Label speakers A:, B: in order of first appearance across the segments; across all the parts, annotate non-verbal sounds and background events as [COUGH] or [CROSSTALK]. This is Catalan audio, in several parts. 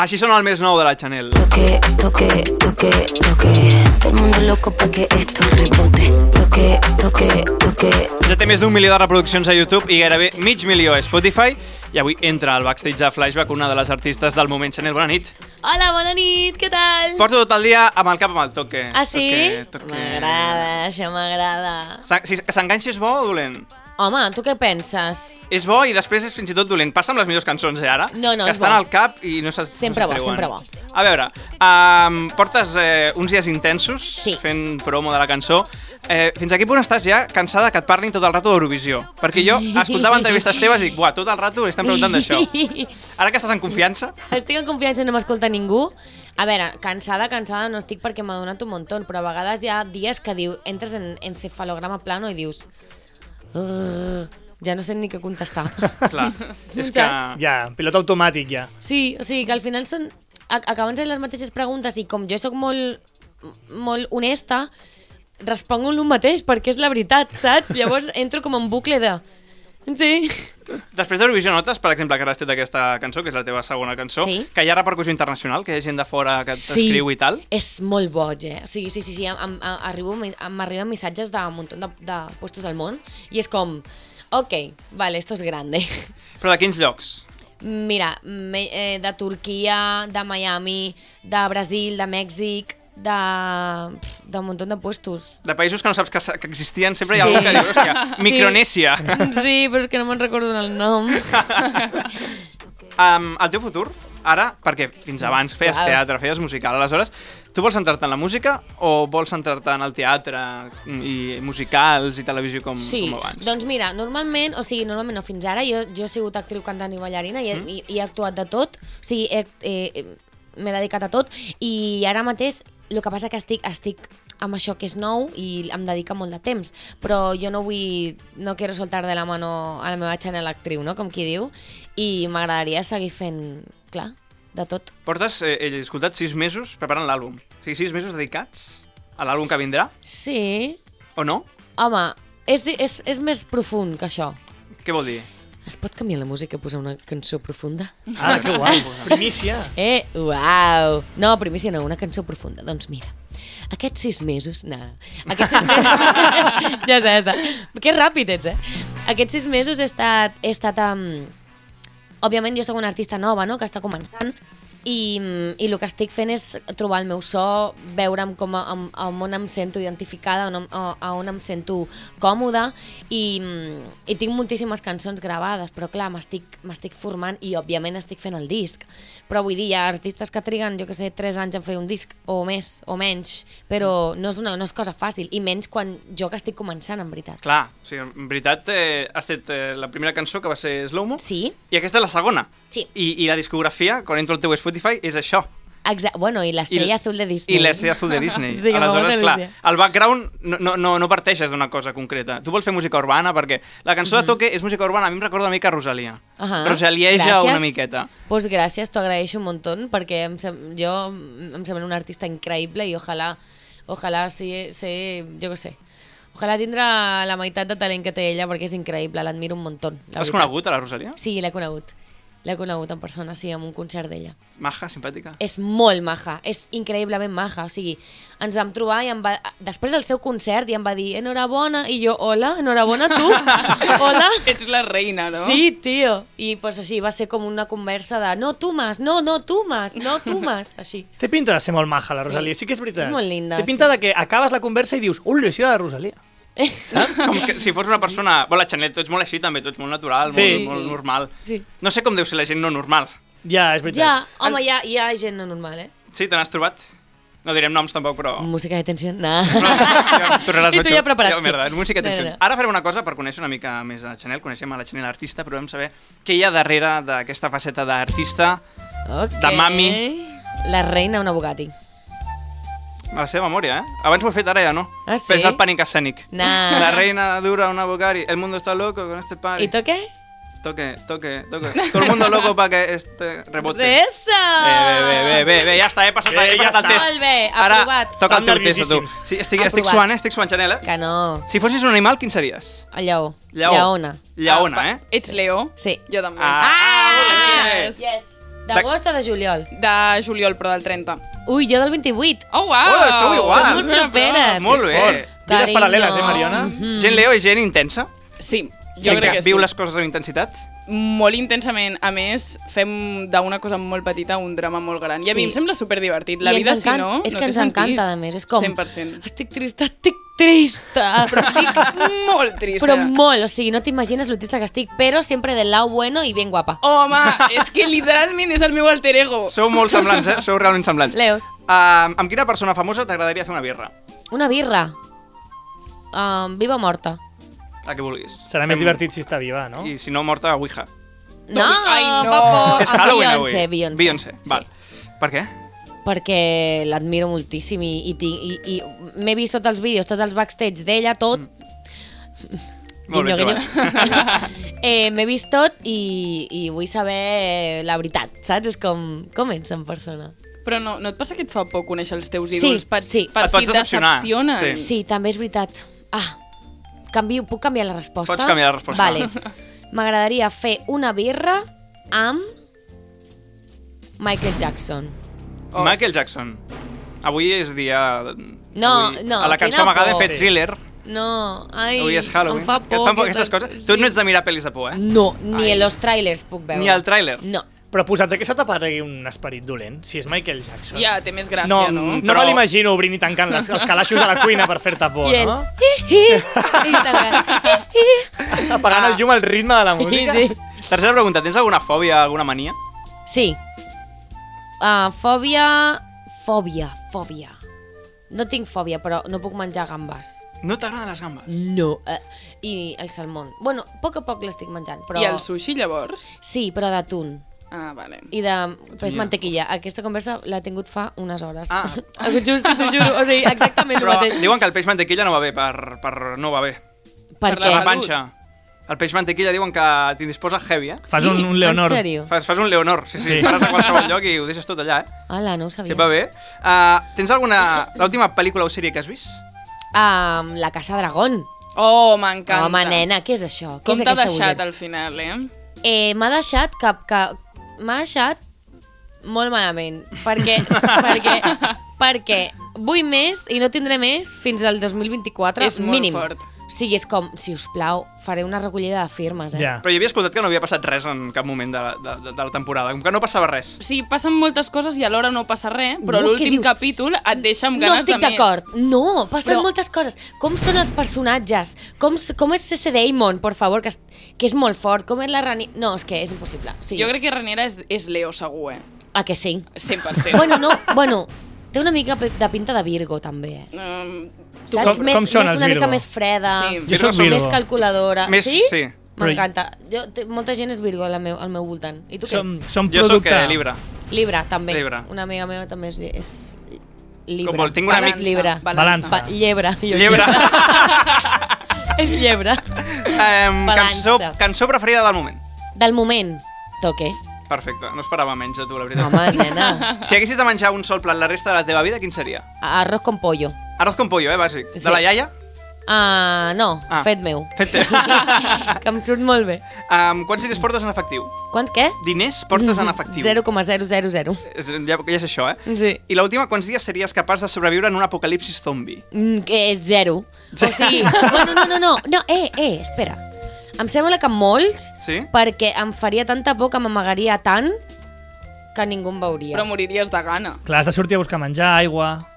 A: Així sona el més nou de la Chanel.
B: Toque, toque, toque, toque. Todo el mundo loco pa' que esto rebote. Toque, toque, toque.
A: Ja té més d'un milió de reproduccions a YouTube i gairebé mig milió a Spotify. I avui entra al backstage de Flashback una de les artistes del moment. Chanel, bona nit.
C: Hola, bona nit, què tal?
A: Porto tot el dia amb el cap amb el toque.
C: Ah, sí?
A: Toque, toque.
C: M'agrada, això m'agrada.
A: S'en- Si que s'enganxi és bo o dolent?
C: Home, tu què penses?
A: És bo i després és fins i tot dolent. Passa amb les millors cançons, eh, ara?
C: No, no,
A: que
C: és
A: estan
C: bo.
A: al cap i no se'ls
C: Sempre
A: no
C: bo,
A: se'n
C: sempre
A: treuen.
C: bo.
A: A veure, um, portes eh, uns dies intensos
C: Sí.
A: fent promo de la cançó. Eh, fins a quin punt estàs ja cansada que et parlin tot el rato d'Eurovisió? Perquè jo escoltava entrevistes teves i dic, buah, tot el rato li estan preguntant d'això. Ara que estàs en confiança,
C: [LAUGHS] Estic en confiança i no m'escolta ningú. A veure, cansada, cansada no estic perquè m'ha donat un muntó, però a vegades hi ha dies que diu, entres en encefalograma plano i dius... "Ugh", ja no sé ni què contestar.
A: clar, és que...
C: Saps?
D: Ja, pilot automàtic ja.
C: Sí, o sigui que al final són, ac- acaben sent les mateixes preguntes i com jo sóc molt, molt honesta, responc el mateix perquè és la veritat, saps? [LAUGHS] Llavors entro com en bucle de... Sí.
A: Després d'Eurovisió notes, per exemple, que ara has tret aquesta cançó, que és la teva segona cançó,
C: Sí.
A: que hi ha repercussió internacional, que hi ha gent de fora que t'escriu i tal.
C: És molt boig, eh? O sigui, sí, sí, sí, em, em, em arribo, em arriben missatges d'un munt de, de puestos al món i és com, ok, vale, esto es grande. [LAUGHS]
A: Però de quins llocs?
C: Mira, me, eh, de Turquia, de Miami, de Brasil, de Mèxic, de, pf, de un munt de puestos.
A: de països que no saps que, s- que existien, sempre hi ha
C: Sí.
A: algú que diu, hòstia,
C: [LAUGHS] Sí.
A: Micronèsia.
C: [LAUGHS] Sí, però és que no me'n recordo
A: [LAUGHS]
C: el nom.
A: Um, el teu futur, ara, perquè fins abans feies
C: Clar.
A: teatre, feies musical, aleshores, tu vols centrar-te en la música o vols centrar-te en el teatre mm, i musicals i televisió com,
C: Sí,
A: com abans?
C: doncs mira, normalment, o sigui, normalment no fins ara, jo, jo he sigut actriu, cantant i ballarina i he, mm. i, he actuat de tot, o sigui, he- he- m'he dedicat a tot i ara mateix el que passa que estic, estic amb això que és nou i em dedica molt de temps, però jo no vull, no quiero soltar de la mano a la meva Chanel actriu, no?, com qui diu, i m'agradaria seguir fent, clar, de tot.
A: Portes, eh, he escoltat, sis mesos preparant l'àlbum. O sigui, sis mesos dedicats a l'àlbum que vindrà,
C: Sí,
A: o no?
C: home, és, di- és, és més profund que això.
A: Què vol dir?
C: Es pot canviar la música i posar una cançó profunda?
D: Ah, que
A: [LAUGHS]
D: guapo. Primícia.
C: Eh, uau! No, primícia no, una cançó profunda. Doncs mira, aquests sis mesos... No, aquests sis mesos... [LAUGHS] ja està, ja està. Que ràpid ets, eh? Aquests sis mesos he estat... He estat amb... Òbviament jo sóc una artista nova, no?, que està començant, i, mm, i el que estic fent és trobar el meu so, veure'm com a, a, a on em sento identificada, on, em- a, a on em sento còmoda i, mm, i tinc moltíssimes cançons gravades, però clar, m'estic m'estic formant i òbviament estic fent el disc, però vull dir, hi ha artistes que triguen, jo que sé, 3 anys en fer un disc, o més, o menys, però no és, una, no és cosa fàcil, i menys quan jo que estic començant, en veritat.
A: Clar, o sigui, en veritat eh, has fet eh, la primera cançó que va ser Slow Mo
C: Sí?
A: i aquesta és la segona.
C: Sí.
A: I, I la discografia, quan entro al teu Spotify, és això.
C: Exacte, bueno, i l'estrella azul de
A: I
C: Disney.
A: l'estrella azul de Disney.
C: [LAUGHS] Sí, que m'ha
A: Aleshores,
C: fet
A: clar,
C: il·lusió.
A: el background no, no, no, no parteixes d'una cosa concreta. Tu vols fer música urbana perquè la cançó de Toque és música urbana. A mi em recorda una mica a Rosalia.
C: Ahà,
A: Rosalieja
C: gràcies.
A: una miqueta.
C: Pues gràcies, t'ho agraeixo un montón perquè em sem jo mm, em sembla un artista increïble i ojalà, ojalà ser, ser jo què sé, ojalà tindre la meitat de talent que té ella perquè és increïble, l'admiro un montón. la
A: L'has
C: veritat.
A: conegut, a la Rosalia?
C: Sí, l'he conegut. L'he conegut en persona, sí, en un concert d'ella.
A: Maja, simpàtica.
C: És molt maja, és increïblement maja. O sigui, ens vam trobar i em va... Després del seu concert i em va dir enhorabona, i jo, hola, enhorabona tu,
A: [LAUGHS]
C: hola.
E: Ets la reina, no?
C: Sí, tio. I pues així va ser com una conversa de no tu mas, no, no tu mas, no tu [LAUGHS] mas, així.
D: Té pinta de ser molt maja, la
C: Sí.
D: Rosalia. Sí que és veritat.
C: És molt linda,
D: Té pinta
C: sí.
D: de que acabes la conversa i dius, ui, lo he sido la Rosalia.
A: Com que, si fos una persona... Bueno, la Chanel, tu ets molt així també, tu ets molt natural,
D: Sí.
A: molt, molt normal.
C: Sí.
A: No sé com deu ser la gent no normal.
D: Ja, és veritat.
C: Ja, home, hi ha, hi ha gent no normal, eh?
A: Sí, te n'has trobat? No direm noms tampoc, però...
C: Música de tensió, no.
A: Ja em tornaràs
C: [LAUGHS] I tu
A: metge.
C: ja preparat.
A: Ja, merda,
C: sí.
A: música atenció.
C: No, no, no.
A: Ara faré una cosa per conèixer una mica més a Chanel, coneixem a la Chanel artista, però vam saber què hi ha darrere d'aquesta faceta d'artista,
C: Okay.
A: de mami.
C: Ah, La reina una Bugatti.
A: a la seva memòria, eh? Abans ho he fet, ara ja no.
C: Ah, sí?
A: Però És el pànic escènic.
C: No.
A: La reina dura, una Bugatti, el mundo está loco con este party.
C: I tu què?
A: Toque, toque, toque. Todo el mundo loco para que este rebote. Eh, Bé,
C: Eso!
A: bé, bé, bé, bé, ja està, he passat,
D: Bé,
A: he
D: ja
A: passat eh, el
D: està.
A: test.
C: Molt bé,
A: Ara
C: aprovat.
A: toca el teu test, a
D: Estan
A: tu.
D: nerviosíssims.
A: Sí, estic, estic
C: Aprovat.
A: suant, eh? Estic suant, Chanel, eh?
C: Que no.
A: Si fossis un animal, quin series?
C: El lleó.
A: Lleó.
C: Lleona. Ah,
A: Lleona, eh?
E: Ah, Ets Leo?
C: Sí.
E: Jo també.
A: Ah, ah,
E: Ah,
A: molt bé.
E: quina és?
C: Yes. D'agost o de juliol?
E: De juliol, però del 30.
C: Ui, jo del 28.
E: Oh, wow!
A: Hola, sou igual.
C: Som
E: Mira,
C: estroperes.
E: però-
A: Molt bé.
D: Vides paral·leles, eh, Mariona?
C: Mm.
A: Gent Leo és gent intensa.
E: Sí, jo
A: Gent
E: crec
A: que
E: que
A: viu
E: sí.
A: les coses amb intensitat.
E: Molt intensament. A més, fem d'una cosa molt petita un drama molt gran. I
C: Sí.
E: a mi em sembla superdivertit. La
C: I ens
E: vida, si
C: encanta-
E: no,
C: és
E: no
C: que
E: té
C: ens
E: sentit.
C: encanta, a més, és com...
E: 100%.
C: Estic trista, estic trista. Però estic...
E: [LAUGHS] Molt trista.
C: Però molt, o sigui, no t'imagines lo trista que estic, però sempre del lado bueno i ben guapa.
E: Home, és que literalment és el meu alter ego.
A: Sou molt semblants,
C: [LAUGHS]
A: eh? Sou realment semblants.
C: Leos,
A: Uh, amb quina persona famosa t'agradaria fer una birra?
C: una birra. Um, viva o morta.
A: La que vulguis.
D: Serà més divertit si està viva, no?
A: I si no, morta, Ouija.
C: No,
E: ai, no.
C: papo.
A: és Halloween
C: Ah,
A: avui.
C: Beyoncé, Beyoncé.
A: Beyoncé,
C: Sí.
A: val. Per què?
C: Perquè l'admiro moltíssim i, i, tinc- i, i m'he vist tots els vídeos, tots els backstage d'ella, tot.
A: Molt bé
C: Guinyo,
A: trobat.
C: guinyo. eh, m'he vist tot i, i vull saber eh, la veritat, saps? És com, com ets en persona.
E: Però no, no et passa que et fa por conèixer els teus
C: Sí,
E: ídols per,
C: sí.
E: per
A: Et
E: si
A: pots decepcionar, sí.
E: decepcionen?
C: Sí, també és veritat. Ah, canvio, puc canviar la resposta?
A: Pots canviar la resposta.
C: Vale. M'agradaria fer una birra amb Michael Jackson.
A: [LAUGHS]
E: Oh,
A: Michael Jackson. Avui és dia...
C: No,
A: avui,
C: no,
A: A la cançó
C: quina
A: m'agrada
C: por.
A: fer thriller.
C: No, ai,
A: Avui és Halloween.
C: em fa
A: que
C: por.
A: et fan por
C: aquest-
A: aquestes coses. Tu no ets de mirar pel·lis de por, eh?
C: No, ni en los trailers puc veure.
A: Ni al tràiler.
C: No.
D: Però posats a que se t'aparregui un esperit dolent, si és Michael Jackson.
E: Ja, té més gràcia, no?
D: no,
E: no?
D: no
A: Però-
D: me l'imagino obrint i tancant les, els calaixos de la cuina per fer-te por,
C: I ell,
D: no?
C: hi, hi, i tal, hi, hi.
D: Apagant el llum al ritme de la
C: Ah. Sí,
D: música.
C: sí.
A: Tercera pregunta, tens alguna fòbia, alguna mania?
C: Sí. Uh, fòbia... Fòbia, fòbia. No tinc fòbia, però no puc menjar gambes.
A: No t'agraden les gambes?
C: No. Uh, I el salmón. Bueno, a poc a poc l'estic menjant, però...
E: I el sushi, llavors?
C: Sí, però d'atún.
E: Ah, vale.
C: I de peix mantequilla. Aquesta conversa l'ha tingut fa unes hores.
A: Ah.
C: [LAUGHS] Just, t'ho juro. O sigui, exactament el
A: Però
C: mateix.
A: diuen que el peix mantequilla no va bé per... per no va bé.
C: Per
E: Per la
C: què?
A: La
E: Salut.
A: panxa. El peix mantequilla diuen que t'hi disposa heavy, eh?
D: Fas un, un Leonor.
C: En sèrio?
A: Fas, fas un Leonor, sí, sí,
D: Sí.
A: pares a qualsevol lloc i ho deixes tot allà, eh?
C: Hola, no ho sabia.
A: Sí, va bé. Uh, tens alguna... L'última pel·lícula o sèrie que has vist?
C: Um, la Casa Dragón.
E: Oh, m'encanta.
C: Home, nena, què és això? Què
E: Com
C: és
E: t'ha
C: aquesta
E: deixat
C: bogeria?
E: al final, eh?
C: Eh, m'ha deixat que, que m'ha deixat molt malament, perquè,
E: [LAUGHS]
C: perquè, perquè vull més i no tindré més fins al 2024,
E: És molt
C: mínim.
E: fort.
C: O sigui, és com, si us plau, faré una recollida de firmes, eh?
D: Ja.
A: Però jo havia escoltat que no havia passat res en cap moment de, la- de, de, de la temporada, com que no passava res.
E: O sigui, passen moltes coses i alhora no passa res, però
C: No, què
E: l'últim
C: dius?
E: capítol et deixa amb
C: No
E: ganes de
C: estic
E: més.
C: d'acord. No, passen
E: Però-
C: moltes coses. Com són els personatges? Com, s- com és C.C. Damon, por favor, que, es, que és molt fort? Com és la Rani... No, és que és impossible. O sigui,
E: Jo crec que Raniera és, és Leo, segur, eh?
C: A que sí?
E: 100%.
C: Bueno, no, bueno, té una mica pe- de pinta de Virgo, també, eh?
E: Um,
C: Saps?
D: com-
C: més,
D: com són
C: més
D: els
C: una mica
D: Virgo?
C: més freda,
E: Sí.
D: Jo
A: Virgo
D: sóc
A: som-
C: més
D: Virgo.
C: calculadora.
A: Més-
C: sí?
A: sí.
C: M'encanta. Jo- té- Molta gent és Virgo al meu, al meu voltant. I tu què
D: Som,
C: ets?
D: som
A: Jo sóc
D: producte.
A: eh, Libra.
C: Libra, també.
A: Libra.
C: Una amiga meva també és, és Libra.
A: Com vol, tinc un amic-
C: És Libra.
D: Balança.
C: Va, llebre. Jo, [LAUGHS]
A: Llebre.
C: és llebre.
A: um,
C: Balança.
A: cançó, cançó preferida del moment.
C: Del moment, toque.
A: Perfecte, no esperava menys de tu, la veritat.
C: Home, nena.
A: Si haguessis de menjar un sol plat la resta de la teva vida, quin seria?
C: Arroz con pollo.
A: Arroz con pollo, eh, bàsic.
C: Sí.
A: De la iaia?
C: Ah, no,
A: Ah.
C: fet meu. [LAUGHS]
A: Fet teu.
C: que em surt molt bé.
A: Um, quants diners portes en efectiu?
C: Quants què?
A: Diners portes
C: Mm-hmm.
A: en efectiu.
C: 0,000.
A: És- Ja, ja és això, eh?
C: Sí.
A: I l'última, quants dies series capaç de sobreviure en un apocalipsis zombi?
C: Mm, que és zero. O sigui, bueno, no, no, no, no, eh, eh, espera. Em sembla que molts,
A: Sí?
C: perquè em faria tanta por que m'amagaria tant que ningú em veuria.
E: Però moriries de gana.
D: Clar, has de sortir a buscar menjar, aigua...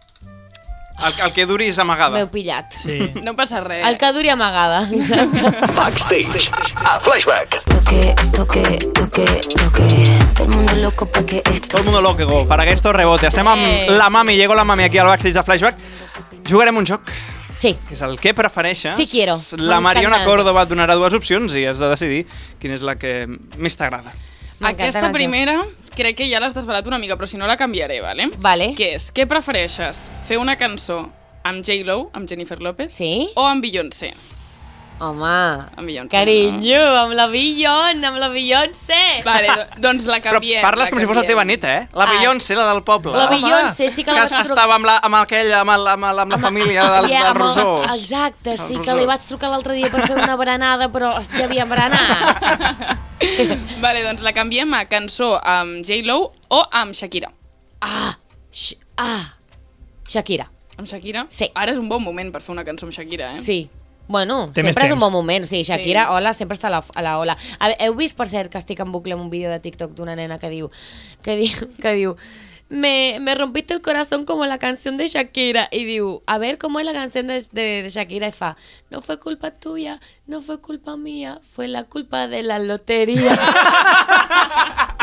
A: El, el que duris amagada.
C: M'heu pillat.
D: Sí.
E: No passa res.
C: El que duri
E: [LAUGHS]
C: amagada. Exacte.
F: Backstage a Flashback.
B: Toque, toque, toque, toque. Todo el mundo loco porque esto
A: Todo el mundo loco go, para que esto rebote. Estem amb
C: Eh.
A: la mami, llego la mami aquí al backstage de Flashback. Jugarem un joc,
C: Sí.
A: que és el que prefereixes.
C: Sí quiero.
A: La
C: M'encanten
A: Mariona
C: els
A: Córdoba et donarà dues opcions i has de decidir quina és la que més t'agrada.
C: M'encanten
E: Aquesta
C: els
E: primera
C: jocs.
E: crec que ja l'has desvelat una mica, però si no la canviaré, vale?
C: Vale.
E: Què és? Què prefereixes? Fer una cançó amb J-Lo, amb Jennifer López?
C: Sí?
E: O amb Beyoncé?
C: Home,
E: Amb Beyoncé,
C: carinyo, amb la Billon, amb la Beyoncé.
E: Vale, do- doncs la
A: Però
E: canviem.
A: parles
E: la
A: com si fos la teva
E: canviem.
A: neta, eh? La
C: Ah.
A: Beyoncé, la del poble.
C: La
A: que
C: Beyoncé sí que la vaig trucar.
A: estava amb, la, amb aquella, amb, la, amb, la, amb la
C: [LAUGHS]
A: família dels,
C: Yeah,
A: dels
C: amb el-
A: Rosós.
C: Exacte, sí
A: Els
C: que li
A: Rosós.
C: vaig trucar l'altre dia per fer una berenada, però ja havia berenat.
E: Vale, doncs la canviem a cançó amb J-Lo o amb Shakira.
C: Ah! Sh ah! Shakira.
E: Amb Shakira?
C: Sí.
E: Ara és un bon moment per fer una cançó amb Shakira, eh?
C: Sí. Bueno,
D: Té més
C: sempre és un
D: temps.
C: bon moment. Sí, Shakira,
E: Sí.
C: hola, sempre està a la, a la hola. A veure, heu vist, per cert, que estic en bucle amb un vídeo de TikTok d'una nena que diu... Que diu, [LAUGHS] que diu me, me rompiste el corazón como la canción de Shakira. I diu, a ver cómo es la canción de, de Shakira. I fa, no fue culpa tuya, no fue culpa mía, fue la culpa de la lotería.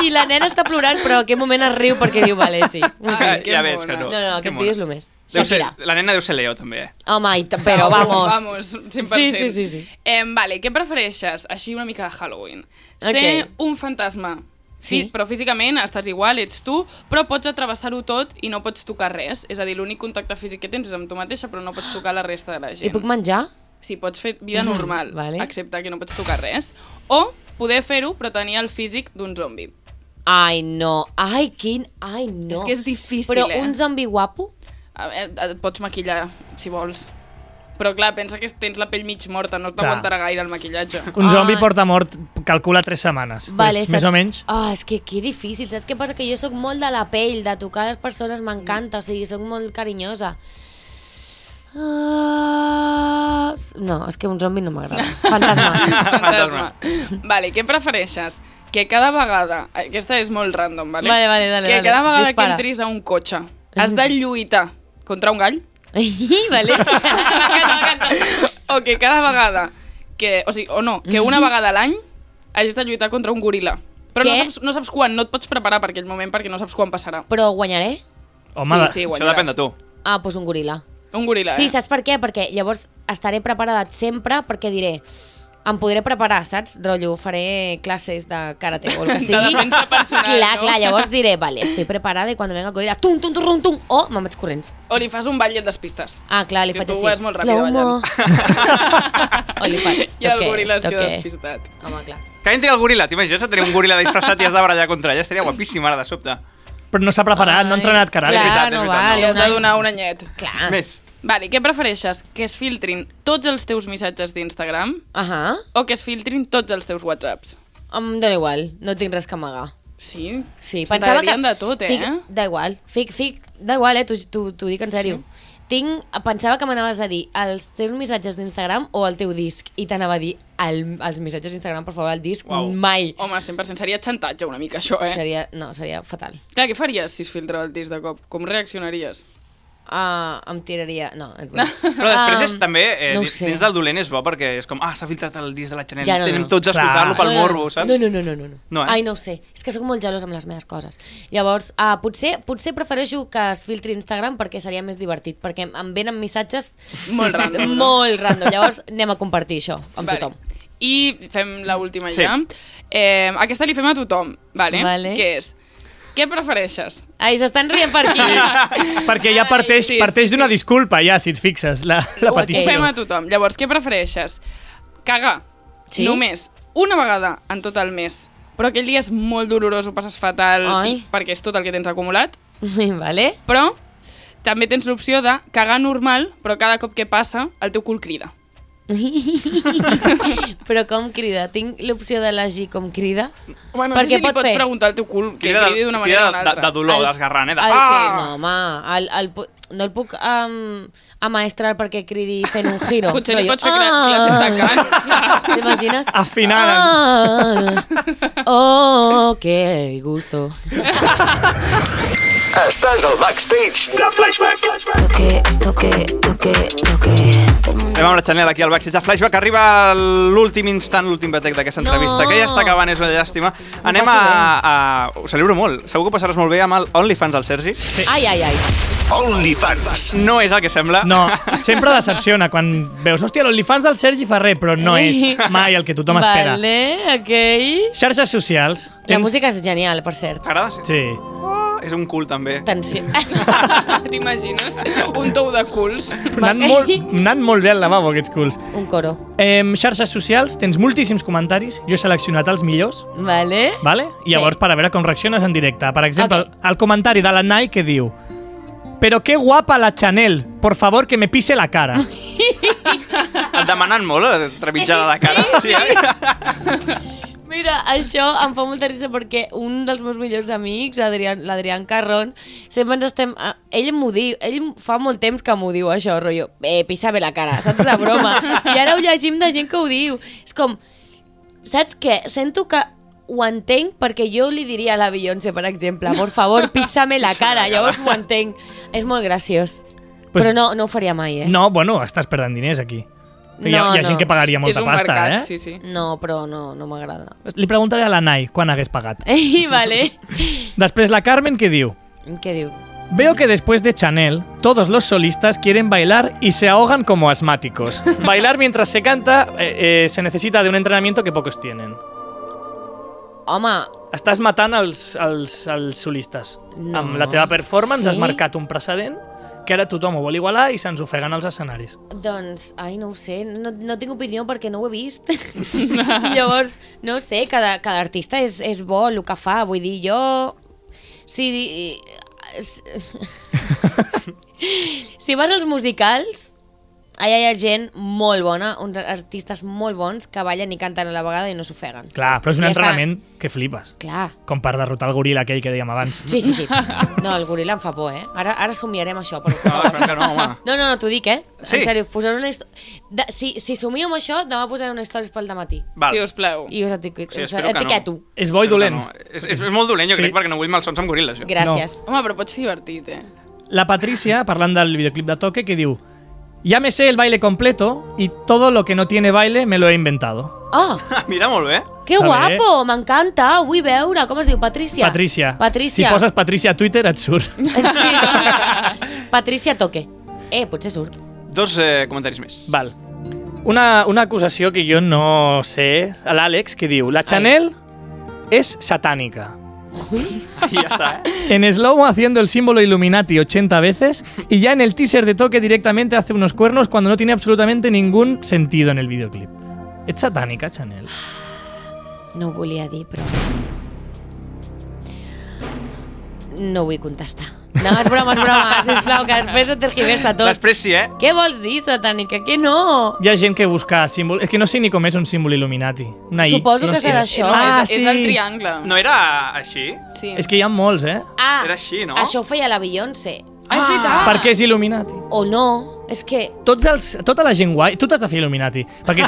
C: I la nena està plorant, però en aquest moment es riu perquè diu, vale, sí.
E: Ah,
C: sí.
E: que
A: ja veig
E: mona.
A: que no.
C: No, no,
A: que
C: aquest
A: mona.
C: vídeo és el més.
A: Deu ser,
C: Shakira.
A: la nena deu ser Leo, també.
C: Home, i t- però vamos.
E: Vamos, 100%.
C: Sí, sí, sí, sí.
E: Eh, vale, què prefereixes? Així una mica de Halloween. Ser
C: Ok.
E: un fantasma.
C: Sí.
E: Sí. Però físicament estàs igual, ets tu, però pots atravessar-ho tot i no pots tocar res. És a dir, l'únic contacte físic que tens és amb tu mateixa, però no pots tocar la resta de la gent.
C: I puc menjar?
E: Sí, pots fer vida normal,
C: Mhm. vale.
E: vale. excepte que no pots tocar res. O poder fer-ho, però tenir el físic d'un zombi.
C: Ai, no. Ai, quin... Ai, no.
E: És que és difícil,
C: Però
E: eh?
C: un zombi guapo?
E: A veure, Et pots maquillar, si vols. Però clar, pensa que tens la pell mig morta, no
D: Clar.
E: t'aguantarà gaire
C: [LAUGHS]
E: el maquillatge.
D: [LAUGHS] Un zombi
C: Ah.
D: porta mort, calcula 3 setmanes. Vale, més,
C: saps?
D: més o menys.
C: Ah, és que que difícil. Saps què passa? Que jo sóc molt de la pell, de tocar les persones, m'encanta. O sigui, sóc molt carinyosa. Ah, no, és que un zombi no m'agrada. Fantasma.
E: Fantasma. Vale, què prefereixes? Que cada vegada... eh, Aquesta és molt random, [LAUGHS] vale?
C: Vale, vale, dale,
E: que
C: dale.
E: cada vegada
C: Dispara. Mhm.
E: que entris a un cotxe has de lluitar contra un gall
C: Ai, [LAUGHS]
E: [LAUGHS]
C: vale. M'encanta, m'encanta.
E: o que cada vegada que... O sigui, o no, que una vegada a l'any hagis de lluitar contra un goril·la. Però no
C: Mhm. Què?
E: saps, no saps quan, no et pots preparar per aquell moment perquè no saps quan passarà.
C: Però guanyaré?
D: Home,
E: sí, sí,
A: Això
E: guanyaràs.
A: depèn de tu.
C: Ah, doncs un goril·la.
E: Un goril·la,
C: Sí,
E: eh?
C: saps per què? Perquè llavors estaré preparada sempre perquè diré em podré preparar, saps? Rotllo, faré classes de karate o el que
E: De
C: sigui.
E: defensa personal,
C: clar,
E: no?
C: clar, llavors diré, vale, estoy preparada i quan venga el goril·la, tum, tum, tum, tum, tum, o me'n vaig corrents.
E: O li fas un ballet despistes.
C: Ah, clar, li
E: Que
C: faig
E: tu
C: així.
E: vas molt
C: [LAUGHS]
E: ràpid
C: o li faig,
E: I el
C: toque,
E: goril·la es queda
C: toque.
E: despistat.
C: Home, clar.
A: Que entri el goril·la, t'imagines? Tenir un goril·la disfressat i has de barallar contra ella. Estaria guapíssim ara, de sobte.
C: Ah.
D: Però no s'ha preparat, no ha entrenat, carai.
A: És
C: Clar,
A: veritat, és
C: no
A: veritat,
C: val.
E: Li has de
C: any.
E: donar un anyet.
C: Clar.
A: Més.
E: Vale, què prefereixes? Que es filtrin tots els teus missatges d'Instagram
C: Ahà.
E: o que es filtrin tots els teus whatsapps?
C: Em dóna igual, no tinc res que amagar.
E: Sí?
C: Sí, pensava que...
E: S'enredarien de tot, eh?
C: Fic, da igual, fic, fic, da igual, eh, t'ho- t'ho t'ho dic en sèrio. Tinc, pensava que m'anaves a dir els teus missatges d'Instagram o el teu disc i t'anava a dir el, els missatges d'Instagram, per favor, el disc
A: Uau.
C: mai.
E: Home, 100% seria xantatge una mica això, Oh, eh?
C: Seria, no, seria fatal.
E: Clar, què faries si es filtrava el disc de cop? Com reaccionaries?
C: Uh, em tiraria... No, et
E: [LAUGHS]
C: vull. Ah,
A: Però després és
C: Em,
A: també, eh,
C: Um, no ho
A: dins
C: sé.
A: dins del dolent és bo perquè és com, ah, s'ha filtrat el disc de la Chanel,
C: Ja, no,
A: tenim
C: no.
A: tots a
D: Clar.
A: escoltar-lo pel
C: ah, No, no,
A: morbo, saps?
C: No, no, no, no. no, no.
A: No, eh?
C: Ai, no ho sé. És que sóc molt gelós amb les meves coses. Llavors, uh, potser, potser prefereixo que es filtri Instagram perquè seria més divertit, perquè em venen missatges
E: Molt random, no?
C: molt random. Llavors, anem a compartir això amb vale. tothom.
E: I fem la última
A: Sí.
E: ja. Eh, aquesta li fem a tothom, vale?
C: Vale.
E: Què és? Què prefereixes?
C: Ai, s'estan rient per
E: [LAUGHS]
C: aquí.
D: [LAUGHS] Perquè ja parteix,
E: sí, sí,
D: parteix d'una
E: sí.
D: disculpa, ja, si et fixes, la, la
C: Ho
E: Ho
D: petició.
E: fem a tothom. Llavors, què prefereixes? Cagar
C: Sí?
E: només una vegada en tot el mes, però aquell dia és molt dolorós, ho passes fatal,
C: Ai.
E: perquè és tot el que tens acumulat,
C: vale. [LAUGHS]
E: però també tens l'opció de cagar normal, però cada cop que passa el teu cul crida.
C: Però com crida? Tinc l'opció d'elegir com crida?
E: Home, no
C: Per
E: sé
C: què
E: si li
C: pot
E: pots
C: fer?
E: preguntar al teu cul que
A: Crida de-
E: cridi d'una
A: crida
E: manera o una
A: de-
E: altra.
A: de
E: [LAUGHS]
A: dolor,
C: El-
A: d'esgarrant, eh? De,
C: el,
A: ah!
C: Sí, no, home, el, el, pu- no el puc um, amaestrar perquè cridi fent un giro.
E: Potser li
C: Rotllo, "Ah!"
E: pots fer cla- classes de cant.
C: [LAUGHS] T'imagines?
E: [LAUGHS]
D: Afinant.
C: Ah, oh, que gusto.
F: Estàs al backstage de Flashback.
B: Toque, toque, toque, toque. Todo el mundo
A: Anem amb la Chanel aquí al backstage de Flashback. Arriba a l'últim instant, l'últim batec d'aquesta
C: No.
A: entrevista, que ja està acabant, és una llàstima. Anem a,
C: passo
A: a... Ho celebro molt. Segur que ho passaràs molt bé amb el OnlyFans del Sergi.
C: Ai, ai, ai.
F: OnlyFans.
A: No és el que sembla.
D: No, sempre decepciona quan veus, hòstia, l'OnlyFans del Sergi Ferrer, però no
C: [LAUGHS]
D: és mai el que tothom espera.
C: Vale, ok.
D: Xarxes socials.
C: La música és genial, per cert.
A: T'agrada? Sí.
D: Sí.
A: Oh, és un cul, també.
C: Tensió.
E: T'imagines? Un tou de culs.
D: Anant molt, anant molt bé al lavabo, aquests culs.
C: Un coro.
D: Eh, xarxes socials, tens moltíssims comentaris, jo he seleccionat els millors,
C: Vale.
D: vale?
C: Sí.
D: I llavors, per a veure com reacciones en directe. Per exemple,
C: Ok.
D: okay. el comentari de la Nai que diu «Pero qué guapa la Chanel, por favor que me pise la cara».
A: Et demanen molt, eh, trepitjada de cara. Sí, eh?
C: Mira, això em fa molta risa perquè un dels meus millors amics, Adrián- l'Adrián Carrón, sempre ens estem... a- Ell m'ho diu, ell fa molt temps que m'ho diu això, rotllo, eh, pissava la cara, saps, de broma. I ara ho llegim de gent que ho diu. És com, saps què? Sento que ho entenc perquè jo li diria a la Beyoncé, per exemple, por favor, pissame la cara, llavors ho entenc. És molt graciós.
D: Pues-
C: Però no, no ho faria mai, eh?
D: No, bueno, estàs perdent diners aquí. No, hi, ha,
C: No,
D: hi ha gent
C: no.
D: que pagaria molta
E: és un
D: pasta, eh?
E: mercat, sí, sí.
C: No, però no, no m'agrada. [LAUGHS]
D: Li preguntaré a la Nai quan hagués pagat.
C: Ei, vale.
D: Després la Carmen que diu...
C: Què diu?
D: Veo que después de Chanel, todos los solistas quieren bailar y se ahogan como asmáticos. Bailar mientras se canta eh, eh, se necesita de un entrenamiento que pocos tienen.
C: Home,
D: Estàs matant els, els, els solistes.
C: No.
D: Amb la teva performance
C: Sí?
D: has marcat un precedent que ara tothom ho vol igualar i se'ns ofeguen els escenaris.
C: doncs, ai, no ho sé, no, no tinc opinió perquè no ho he vist.
A: [LAUGHS]
C: [LAUGHS] Llavors, no ho sé, cada, cada artista és, és bo el que fa, vull dir, jo... Si, [LAUGHS] si vas als musicals, allà hi ha gent molt bona, uns artistes molt bons que ballen i canten a la vegada i no s'ofeguen.
D: Clar, però és un
C: Ja està.
D: entrenament que flipes.
C: Clar.
D: Com per derrotar el goril aquell que dèiem abans.
C: Sí,
A: [LAUGHS]
C: sí, sí. No, el goril·la em fa por, eh? Ara, ara somiarem això, però...
A: No, clar que no, home.
C: No, no, no, t'ho dic, eh?
A: Sí.
C: En sèrio, posaré una història... De, si, si somio amb això, demà posaré una història pel dematí.
A: Val.
E: Si us plau.
C: I us etiquet,
A: Sí,
C: sí, us
A: espero que no.
C: etiqueto.
D: És bo i dolent.
A: No, eh. no. És, és, és molt dolent, jo
D: Sí.
A: crec, perquè no vull malsons amb goril·les, jo.
C: Gràcies.
E: Home, però pot ser divertit, eh?
D: La Patricia, parlant del videoclip de Toque, que diu Llámese el baile completo y todo lo que no tiene baile me lo he inventado.
C: Oh,
A: Mira, molt bé.
C: que
D: Està bé.
C: guapo! M'encanta, ho vull veure. Com es diu? Patricia?
D: Patricia.
C: Patricia.
D: Si poses Patricia a Twitter et surt.
C: Sí. [LAUGHS] Patricia Toque. Eh, potser surt.
A: Dos eh, comentaris més.
D: Val. Una, una acusació que jo no sé, a l'Àlex, que diu La Chanel és satànica.
A: I ja està, eh?
D: En slow haciendo el símbolo Illuminati 80 veces y ya en el teaser de Toque directamente hace unos cuernos cuando no tiene absolutamente ningún sentido en el videoclip. Es satánica, Chanel.
C: No ho volia dir, però... No vull contestar. No, és broma, és broma, sisplau, que després se tergiversa tot.
A: Després sí, eh?
C: Què vols dir, satànica? Que no?
D: Hi ha gent que busca símbol... És que no sé ni com és un símbol Illuminati. Una I.
C: Suposo
D: no
C: que
D: sé.
C: serà això.
E: No,
D: Ah,
E: és,
D: sí.
E: és el triangle.
A: No era així?
E: Sí.
D: És que hi ha molts, eh?
C: Ah,
A: Era així, no?
C: Això ho feia la Beyoncé.
E: Ah, és veritat.
D: Per què és Illuminati?
C: O no, és que...
D: Tots els, tota la gent guai... Tu t'has de fer Illuminati.
C: [LAUGHS]
D: Perquè...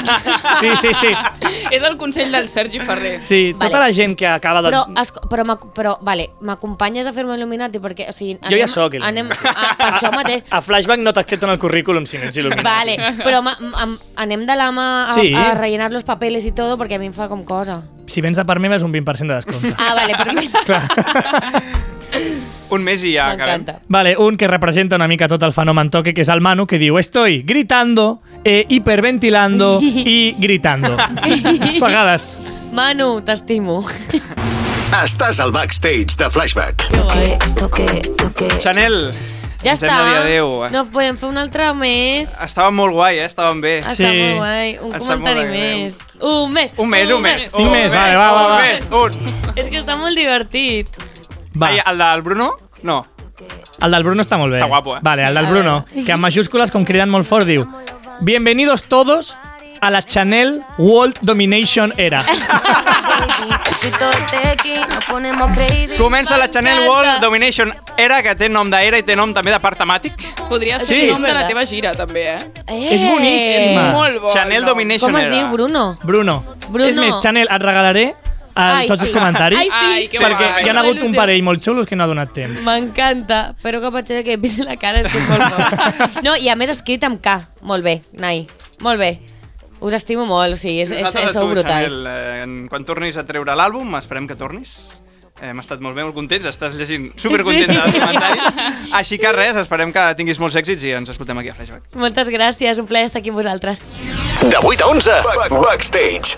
D: Sí, sí, sí.
E: [LAUGHS] És el consell del Sergi Ferrer.
D: Sí, tota
C: Vale.
D: la gent que acaba de...
C: Però, esco- però, m'ac- però vale, m'acompanyes a fer-me Illuminati? Perquè, o sigui, anem,
D: Jo ja sóc Illuminati.
C: Anem, ah, per això mateix.
D: [LAUGHS] A Flashback no t'accepten el currículum si no ets Illuminati.
C: Vale, però ma, am, anem de la mà a,
D: Sí.
C: a rellenar los papeles i tot perquè a mi em fa com cosa.
D: Si vens de part meva és un 20% de descompte.
C: Ah, vale, perfecte. [LAUGHS]
A: Un mes i ja acabem.
C: M'encanta.
D: Vale, un que representa una mica tot el fenomen toque, que és el Manu, que diu Estoy gritando, eh, hiperventilando i
C: [LAUGHS]
D: gritando. A vegades.
C: Manu, t'estimo. [LAUGHS]
F: Estàs al backstage de Flashback.
B: Toque, toque, toque.
A: Chanel,
C: Ja
A: ens hem
C: està.
A: de dir adéu. eh.
C: No podem fer un altre més.
A: Estava molt guai, eh? Estàvem bé.
C: Està
D: Sí.
C: molt guai. Un
A: Està
C: comentari
A: molt bé,
C: més. Un més.
A: Un mes, un mes.
D: Un mes, vale, va, va,
A: un
D: va.
A: mes, un.
C: És que està molt divertit.
D: Va,
A: Ai, el del Bruno? No.
D: el del Bruno està molt bé.
A: Està guapo, eh?
D: Vale, el del
C: Sí, a
D: Bruno, que amb majúscules, com criden molt fort, diu Bienvenidos todos a la Chanel World Domination Era.
C: [LAUGHS]
B: Tú y todo tequi, nos ponemos crazy.
A: Comença la Chanel
C: M'encanta.
A: World Domination Era, que té nom d'era i té nom també de part temàtic.
E: Podria ser
D: Sí.
E: el nom de la
C: Verdad.
E: teva gira, també, eh?
C: Eh,
D: És boníssim.
E: És
D: Ah.
E: molt bo.
A: Chanel
E: el nom.
A: Domination
C: Com es
A: Era.
C: diu, Bruno?
D: Bruno,
C: Bruno.
D: és més, Chanel, et regalaré el,
C: Ai,
D: tots
C: sí.
D: Ah, els comentaris.
C: Ai, sí.
E: Ai, que
D: perquè
E: guai.
D: hi ha
E: Em fa
D: hagut un
E: il·lusió.
D: parell molt xulos que no ha donat temps.
C: M'encanta, però que potser que he vist la cara és que és molt
D: [LAUGHS]
C: bo. No, i a més escrit amb K. Molt bé, Nai. Molt bé. Us estimo molt, o sigui, és, és,
A: Nosaltres a
C: és, sou
A: tu,
C: brutals.
A: Chanel, eh, en- quan tornis a treure l'àlbum, esperem que tornis. Eh, Hem estat molt bé, molt contents, estàs llegint supercontenta
C: Sí.
A: del comentari. Així que res, esperem que tinguis molts èxits i ens escoltem aquí a Flashback.
C: Moltes gràcies, un plaer estar aquí amb vosaltres.
F: De 8 a 11, Back- Backstage.